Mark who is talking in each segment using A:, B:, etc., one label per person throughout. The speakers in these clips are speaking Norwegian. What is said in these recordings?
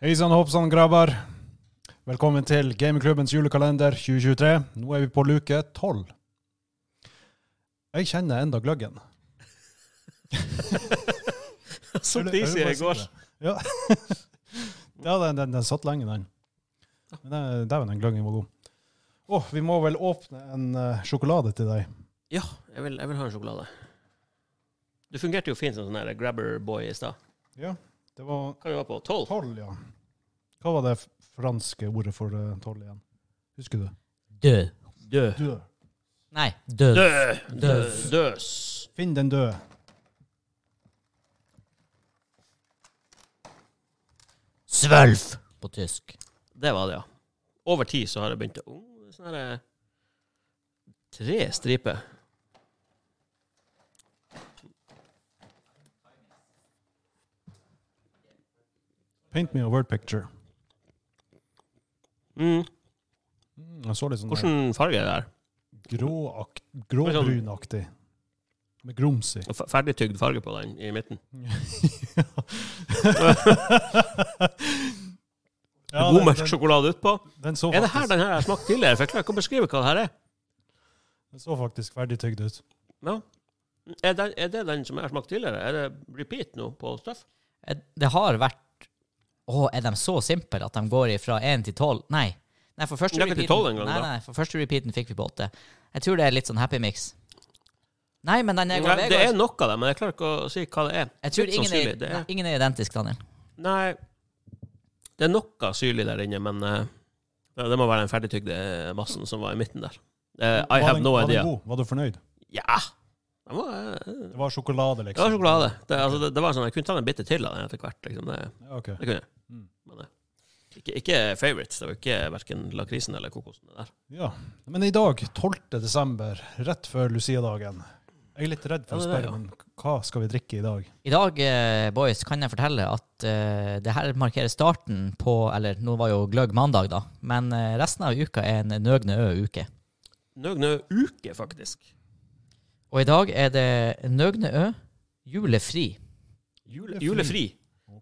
A: Hei sann, hoppsann, grabber. Velkommen til gamingklubbens julekalender 2023. Nå er vi på luke tolv. Jeg kjenner enda gløggen.
B: Som
A: Eller-
B: de
A: eller
B: sier
A: bare
B: i går.
A: sitter. Ja, ja den, den, den satt lenge, den. Men det- Dæven, den gløggen var god. Å, vi må vel åpne en eh, sjokolade til deg.
B: Ja, jeg vil, jeg vil ha en sjokolade. Du fungerte jo fint som sånn her grabber boy i stad.
A: Det var
B: Hva vi var på? Tolv?
A: tolv, ja. Hva var det f- franske ordet for eh, tolv igjen? Husker du?
C: Død.
B: Død.
A: Død.
C: Nei, død.
B: Død. Død.
C: Døs.
B: Døs.
A: Finn den døde.
C: Svølv på tysk.
B: Det var det, ja. Over tid så har jeg begynt å oh, det er Sånn her Tre striper.
A: Paint me a word picture.
B: Mm.
A: Mm, jeg så litt sånn der-
B: Hvilken farge er det her?
A: Gråakt,
B: sånn-
A: gråbrunaktig. Med grums i.
B: Og fe- Ferdigtygd farge på den i midten.
A: Ja,
B: God
A: den-
B: mørk
A: den-
B: sjokolade utpå.
A: Den så
B: Er det her
A: faktisk,
B: den her jeg smakte tidligere? For jeg klarer ikke å beskrive hva det her er.
A: den så faktisk ferdig tygd ut.
B: Ja. Er, den, er det den som jeg har smakt tidligere? Er det repeat nå på stuff?
C: Eh, Det har vært Å, er de så simple at de går fra 1 til 12? Nei. Nei, for første
B: Det er ikke til 12 engang,
C: nei,
B: da.
C: nei, for første repeaten fikk vi på 8. Jeg tror det er litt sånn happy mix. Nei, men den er
B: Nei, det er noe av det, men jeg klarer ikke å si hva det er.
C: Jeg tror
B: Litt
C: ingen er,
B: sannsynlig, det
C: nei,
B: er-
C: ingen er identisk, Daniel.
B: Nei, det er noe syrlig der inne, men eh, det må være den ferdigtygde massen som var i midten der. Eh, I
A: Var
B: have
A: den-
B: no
A: var den
B: idea.
A: god? Var du fornøyd?
B: Ja! Den var, eh,
A: Det var sjokolade, liksom.
B: det var sjokolade. Det, altså, det, det var sånn, Jeg kunne ta en bitte til av den etter hvert. liksom. Det,
A: Ja, ok.
B: det kunne jeg.
A: Mm.
B: Men, eh, ikke, ikke favorites. Det var ikke hverken lakrisen eller kokosen. det der.
A: Ja. Men i dag, 12. desember, rett før Lucia-dagen Jeg er litt redd for
B: Ja,
A: å
B: det er
A: spørre,
B: det, ja.
A: men hva skal vi drikke i dag?
C: I dag, eh, boys, kan jeg fortelle at eh, det her markerer starten på Eller nå var jo gløgg mandag, da. Men eh, resten av uka er en nøgne ø uke.
B: Nøg nø uke, faktisk.
C: Og i dag er det nøgne ø julefri.
B: Jule, julefri.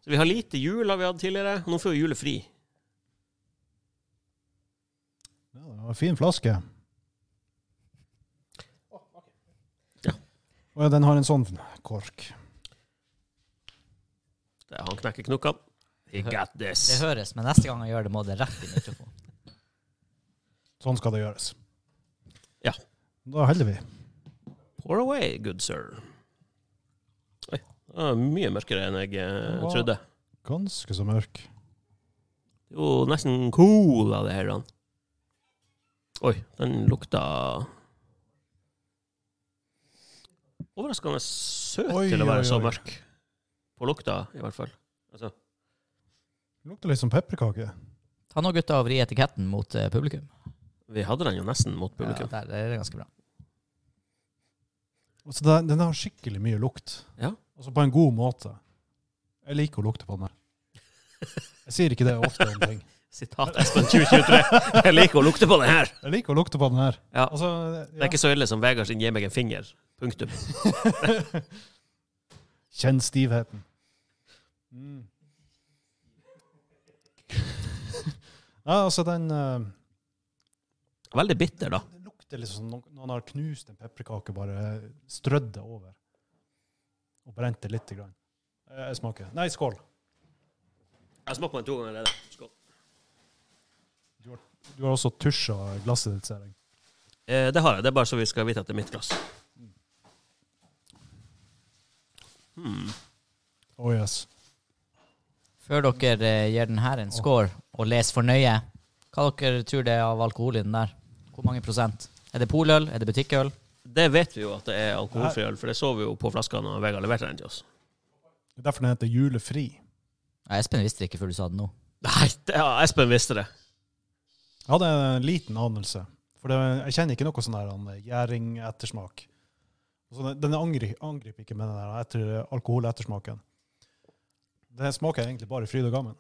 B: Så vi har lite jul har vi hatt tidligere. Nå får vi julefri.
A: Ja, det var en fin flaske.
B: Ja.
A: Å ja, den har en sånn kork.
B: Det- Han knekker knokkene. He got this.
C: Det høres, men neste gang jeg gjør det, må det rett i mikrofonen.
A: Sånn skal det gjøres.
B: Ja.
A: Da holder vi.
B: Pour away, good sir. Oi, det var mye mørkere enn jeg eh,
A: Hva?
B: trodde.
A: Ganske så mørk.
B: Det er Jo, nesten cool av det her. da. Oi, den lukta Overraskende søt
A: Oi,
B: til å være
A: oi,
B: så
A: oi.
B: mørk. På lukta, i hvert fall. Altså,
A: Lukter litt som pepperkake.
C: Ta nå gutta og vri etiketten mot eh, publikum.
B: vi hadde den jo nesten mot publikum.
C: Ja, der er det ganske bra.
A: Altså, den, den har skikkelig mye lukt.
B: Ja.
A: Altså på en god måte. Jeg liker å lukte på den her. Jeg sier ikke det ofte om ting.
B: Sitat Espen 2023. Jeg liker å lukte på den her.
A: Jeg liker å lukte på den her.
B: Ja.
A: Altså,
B: Det er ikke så ille som Vegard sin 'gi meg en finger'. Punktum.
A: ja. Kjenn stivheten. Mm. Ja, altså den eh,
B: Veldig bitter, da.
A: Det lukter liksom som noen noen har knust en pepperkake, bare strødd det over. Og brent det lite grann. Eh, Jeg smaker. Nei, skål.
B: Jeg smakte på den to ganger allerede. Skål.
A: Du har også tusja glasset ditt, ser jeg.
B: Eh, det har jeg. Det er bare så vi skal vite at det er mitt glass. Hmm.
A: Oh yes.
C: Før dere eh, gir den her en score og leser for nøye, hva dere tror det er av alkohol i den der? Hvor mange prosent? Er det poløl? Er det butikkøl?
B: Det vet vi jo at det er alkoholfri øl, for det så vi jo på flaska når Vegard leverte den til oss.
A: Det er derfor den heter julefri.
C: Ja, Espen visste det ikke før du sa det nå.
B: Nei, det, ja, Espen visste det.
A: Jeg hadde en liten anelse. For det, jeg kjenner ikke noe sånn der han, gjæring-ettersmak. Så den den angri, angriper ikke med den der etter, alkoholettersmaken. Det smaker egentlig bare fryd og gammen.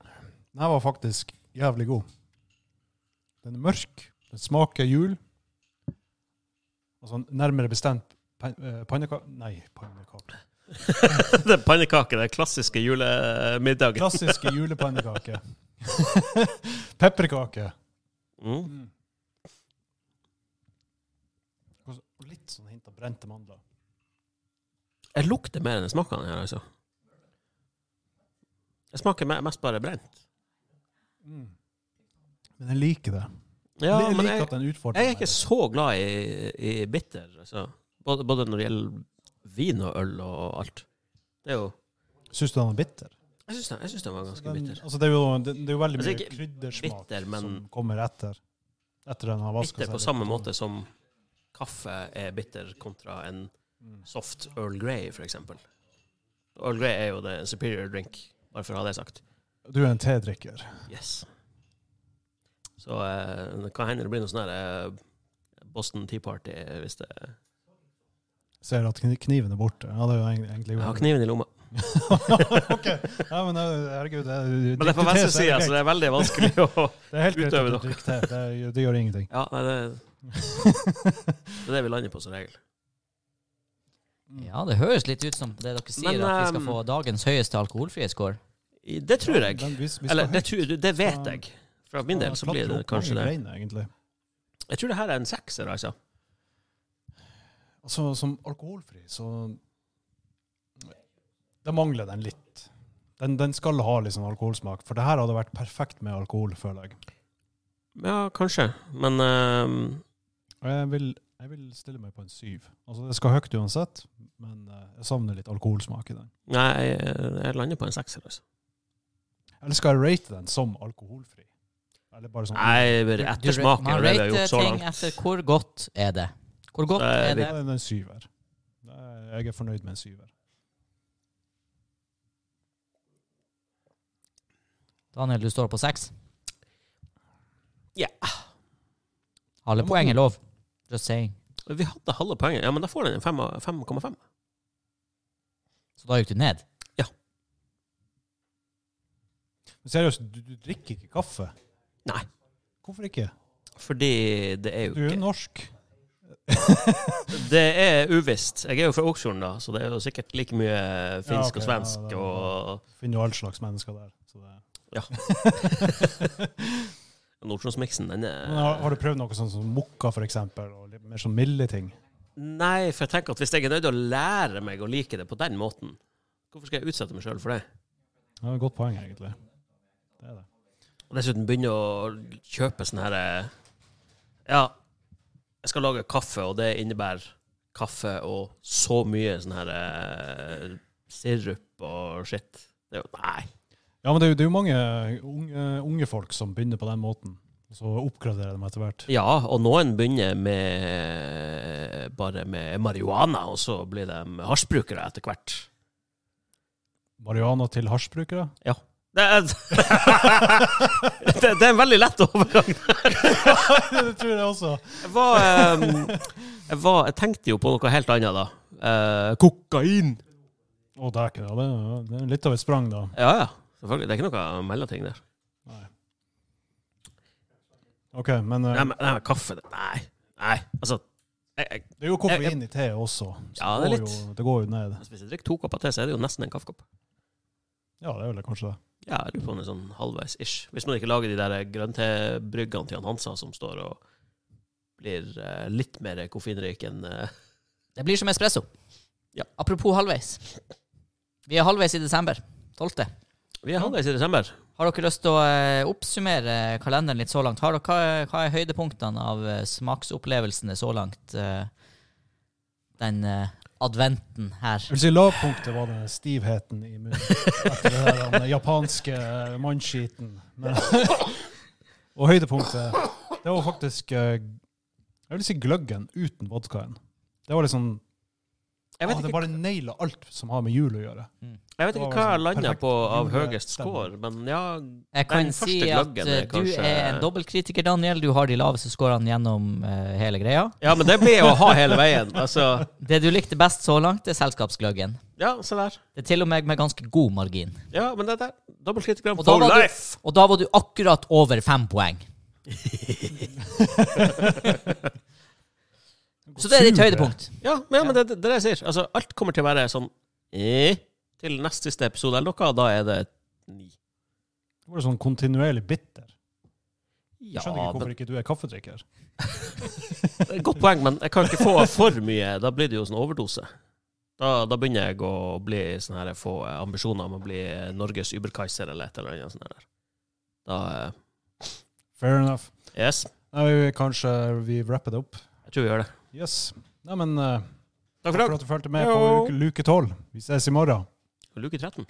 A: Den her var faktisk jævlig god. Den er mørk, den smaker sånn jul. Altså nærmere bestemt pan- eh, pannekake Nei, pannekake.
B: det er pannekake, det er klassiske julemiddagen.
A: Klassiske julepannekaker. Pepperkaker.
B: Mm.
A: Mm. Og så- og Litt sånn hint av brente mandler.
B: Jeg lukter mer enn jeg smaker den her, altså. Jeg smaker me- mest bare brent.
A: Mm. Men jeg liker det.
B: Ja,
A: jeg
B: men
A: liker
B: jeg,
A: at den utfordrer
B: jeg er
A: meg.
B: ikke så glad i, i bitter, altså. Både, både når det gjelder vin og øl og alt. Det er jo
A: Syns du den er bitter?
B: Jeg syns den, jeg syns den var ganske
A: Den-
B: bitter.
A: Altså, det, er jo, det, det er jo veldig
B: Altså,
A: mye
B: ikke
A: kryddersmak
B: bitter, men-
A: som kommer etter. Etter den har vaska
B: Bitter på samme
A: sånn.
B: måte som kaffe er bitter kontra en
A: Mm.
B: soft Earl Grey, for eksempel. Earl Grey er jo det superior drink, bare for å ha det sagt.
A: Du er en tedrikker.
B: Yes. Så eh, det kan hende det blir noe sånn her eh, Boston Tea Party hvis det
A: Ser at kni- kniven er borte. Ja, det er jo eng- egentlig
B: Jeg har kniven i lomma.
A: ok. Ja, men eh, herregud, det er
B: Men det er på
A: drikke te, så er
B: venstre
A: det
B: side, så
A: greit.
B: det er veldig vanskelig å
A: Det er helt greit
B: altså, utøver
A: at du
B: dere.
A: drikker te. Det, er- det gjør ingenting.
B: Ja, nei, det, det er det vi lander på som regel. Mm.
C: Ja, det høres litt ut som det dere sier,
B: Men,
C: at vi
B: ehm,
C: skal få dagens høyeste alkoholfrie score.
B: I- Det tror
A: Ja,
B: jeg.
A: men hvis- hvis
B: Eller
A: det
B: det,
A: er
B: tror, det vet jeg. Fra min del så blir det kanskje det.
A: Greiene, egentlig.
B: Jeg tror det her er en sekser, altså.
A: Altså, som alkoholfri, så Det mangler den litt. Den, den skal ha litt sånn alkoholsmak, for det her hadde vært perfekt med alkohol, føler jeg.
B: Ja, kanskje. Men ehm,
A: Og Jeg vil, jeg vil stille meg på en syv. Altså, det skal høyt uansett, men eh, jeg savner litt alkoholsmak i den.
B: nei, jeg, jeg lander på en sekser, altså.
A: Eller skal jeg rate den som alkoholfri? Eller bare sånn
B: Nei,
C: Du-
B: bare
C: du-
B: etter smaken
C: Man
B: og det vi har
C: rater
B: gjort så
C: ting
B: langt.
C: etter hvor godt er det. Hvor godt
B: Det er
C: er
A: Det
C: det?
A: er en syver. Det er- Jeg er fornøyd med en syver.
C: Daniel, du står på seks.
B: Ja.
C: Alle poeng er lov. Just saying.
B: Vi hadde halve poenget. Ja, men da får den en fem av- 5,5.
C: Så da gikk du ned.
A: Men seriøst, du, du drikker ikke kaffe?
B: Nei.
A: Hvorfor ikke?
B: Fordi det er jo
A: Du er jo
B: ikke
A: norsk.
B: Det er uvisst. Jeg er jo fra Åksfjorden, da, så det er jo sikkert like mye finsk
A: Ja, ok,
B: og svensk
A: ja, det-
B: og
A: Finner jo all slags mennesker der. Så det.
B: Nordtronsmiksen, den er
A: Men har, har du prøvd noe sånn som mokka, for eksempel? Og litt mer sånn milde ting?
B: Nei, for jeg tenker at hvis jeg er nødt til å lære meg å like det på den måten, hvorfor skal jeg utsette meg sjøl for det?
A: Det er et godt poeng, egentlig. Det er det.
B: Og dessuten begynne å kjøpe sånn her eh, Ja, jeg skal lage kaffe, og det innebærer kaffe og så mye sånn her eh, sirup og shit. Det er jo Nei.
A: Ja, men det er jo, det er jo mange unge, unge folk som begynner på den måten. Og så oppgraderer de etter hvert.
B: Ja, og noen begynner med bare med marihuana, og så blir de hasjbrukere etter hvert.
A: Marihuana til hasjbrukere.
B: Det er, det, det er en veldig lett overgang.
A: det tror jeg også.
B: Jeg var, em, jeg, var, jeg tenkte jo på noe helt annet da. Eh, kokain.
A: Å, det er ikke det. Det er- Det er litt av et sprang, da.
B: Ja, ja. Selvfølgelig. Det er ikke noe mellomting der.
A: Nei. OK, men eh,
B: Nei, men, nei, men kaffe det- Nei. Nei. Altså jeg, jeg,
A: det er jo koffein i te også. Så
B: Ja,
A: går
B: det er litt.
A: Jo, det går jo ned.
B: Hvis jeg drikker to kopper te, så er det jo nesten en kaffekopp.
A: Ja, det er vel kanskje det.
B: Ja, jeg lurer på om det er sånn halvveis-ish. Hvis man ikke lager de der grønntebryggene til han Hansa som står og blir eh, litt mer koffeinrik enn eh,
C: Det blir som espresso.
B: Ja.
C: Apropos halvveis. Vi er halvveis i desember. 12.
B: Vi er halvveis i desember.
C: Har dere lyst til å eh, oppsummere kalenderen litt så langt? Har dere, hva, hva er høydepunktene av eh, smaksopplevelsene så langt eh, den eh, adventen her?
A: Jeg vil si Lavpunktet var den stivheten i munnen etter det der, den japanske mannskiten. Men, og høydepunktet, det var faktisk eh, Jeg vil si gløggen uten vodkaen. Det var liksom
B: Jeg
A: ah,
B: vet
A: Det
B: ikke,
A: bare naila alt som har med jul å gjøre.
B: jeg vet
A: det
B: ikke
A: var
B: hva jeg
A: liksom
B: landa
A: perfekt
B: på av
A: jule-
B: høyest score, men ja
C: Jeg kan
B: Den første
C: si at
B: gløggen
C: eh,
B: er
C: du
B: kanskje-
C: er en dobbeltkritiker, Daniel. Du har de laveste scorene gjennom eh, hele greia.
B: Ja, men det blir å ha hele veien. Altså
C: Det du likte best så langt, er selskapsgløggen.
B: Ja, se der.
C: Det er til og med med ganske god margin.
B: Ja, men det der. Dobbeltkritikeren
C: Og da,
B: for
C: var du,
B: life!
C: og da var du akkurat over fem poeng. Så det er ditt høydepunkt.
B: Ja, men, ja, men det det er det jeg sier. Altså, alt kommer til å være sånn eh, til neste episode eller noe, da er det ni.
A: Det var sånn kontinuerlig bitter. Jeg
B: Ja,
A: skjønner ikke
B: men,
A: hvorfor ikke du er kaffedrikker.
B: godt poeng, men jeg kan ikke få for mye. Da blir det jo sånn overdose. Da, da begynner jeg å bli sånn her, få ambisjoner om å bli Norges Uberkaiser eller et eller annet sånt. Der. Da eh,
A: Fair enough.
B: Yes,
A: Nei, kanskje vi wrapper det opp.
B: jeg tror vi gjør det.
A: Yes. Nei, men eh,
B: Takk for i
A: takk
B: dag.
A: for at du fulgte med
B: Jo.
A: på uke, luke 12. Vi ses i morgen.
B: Luke 13.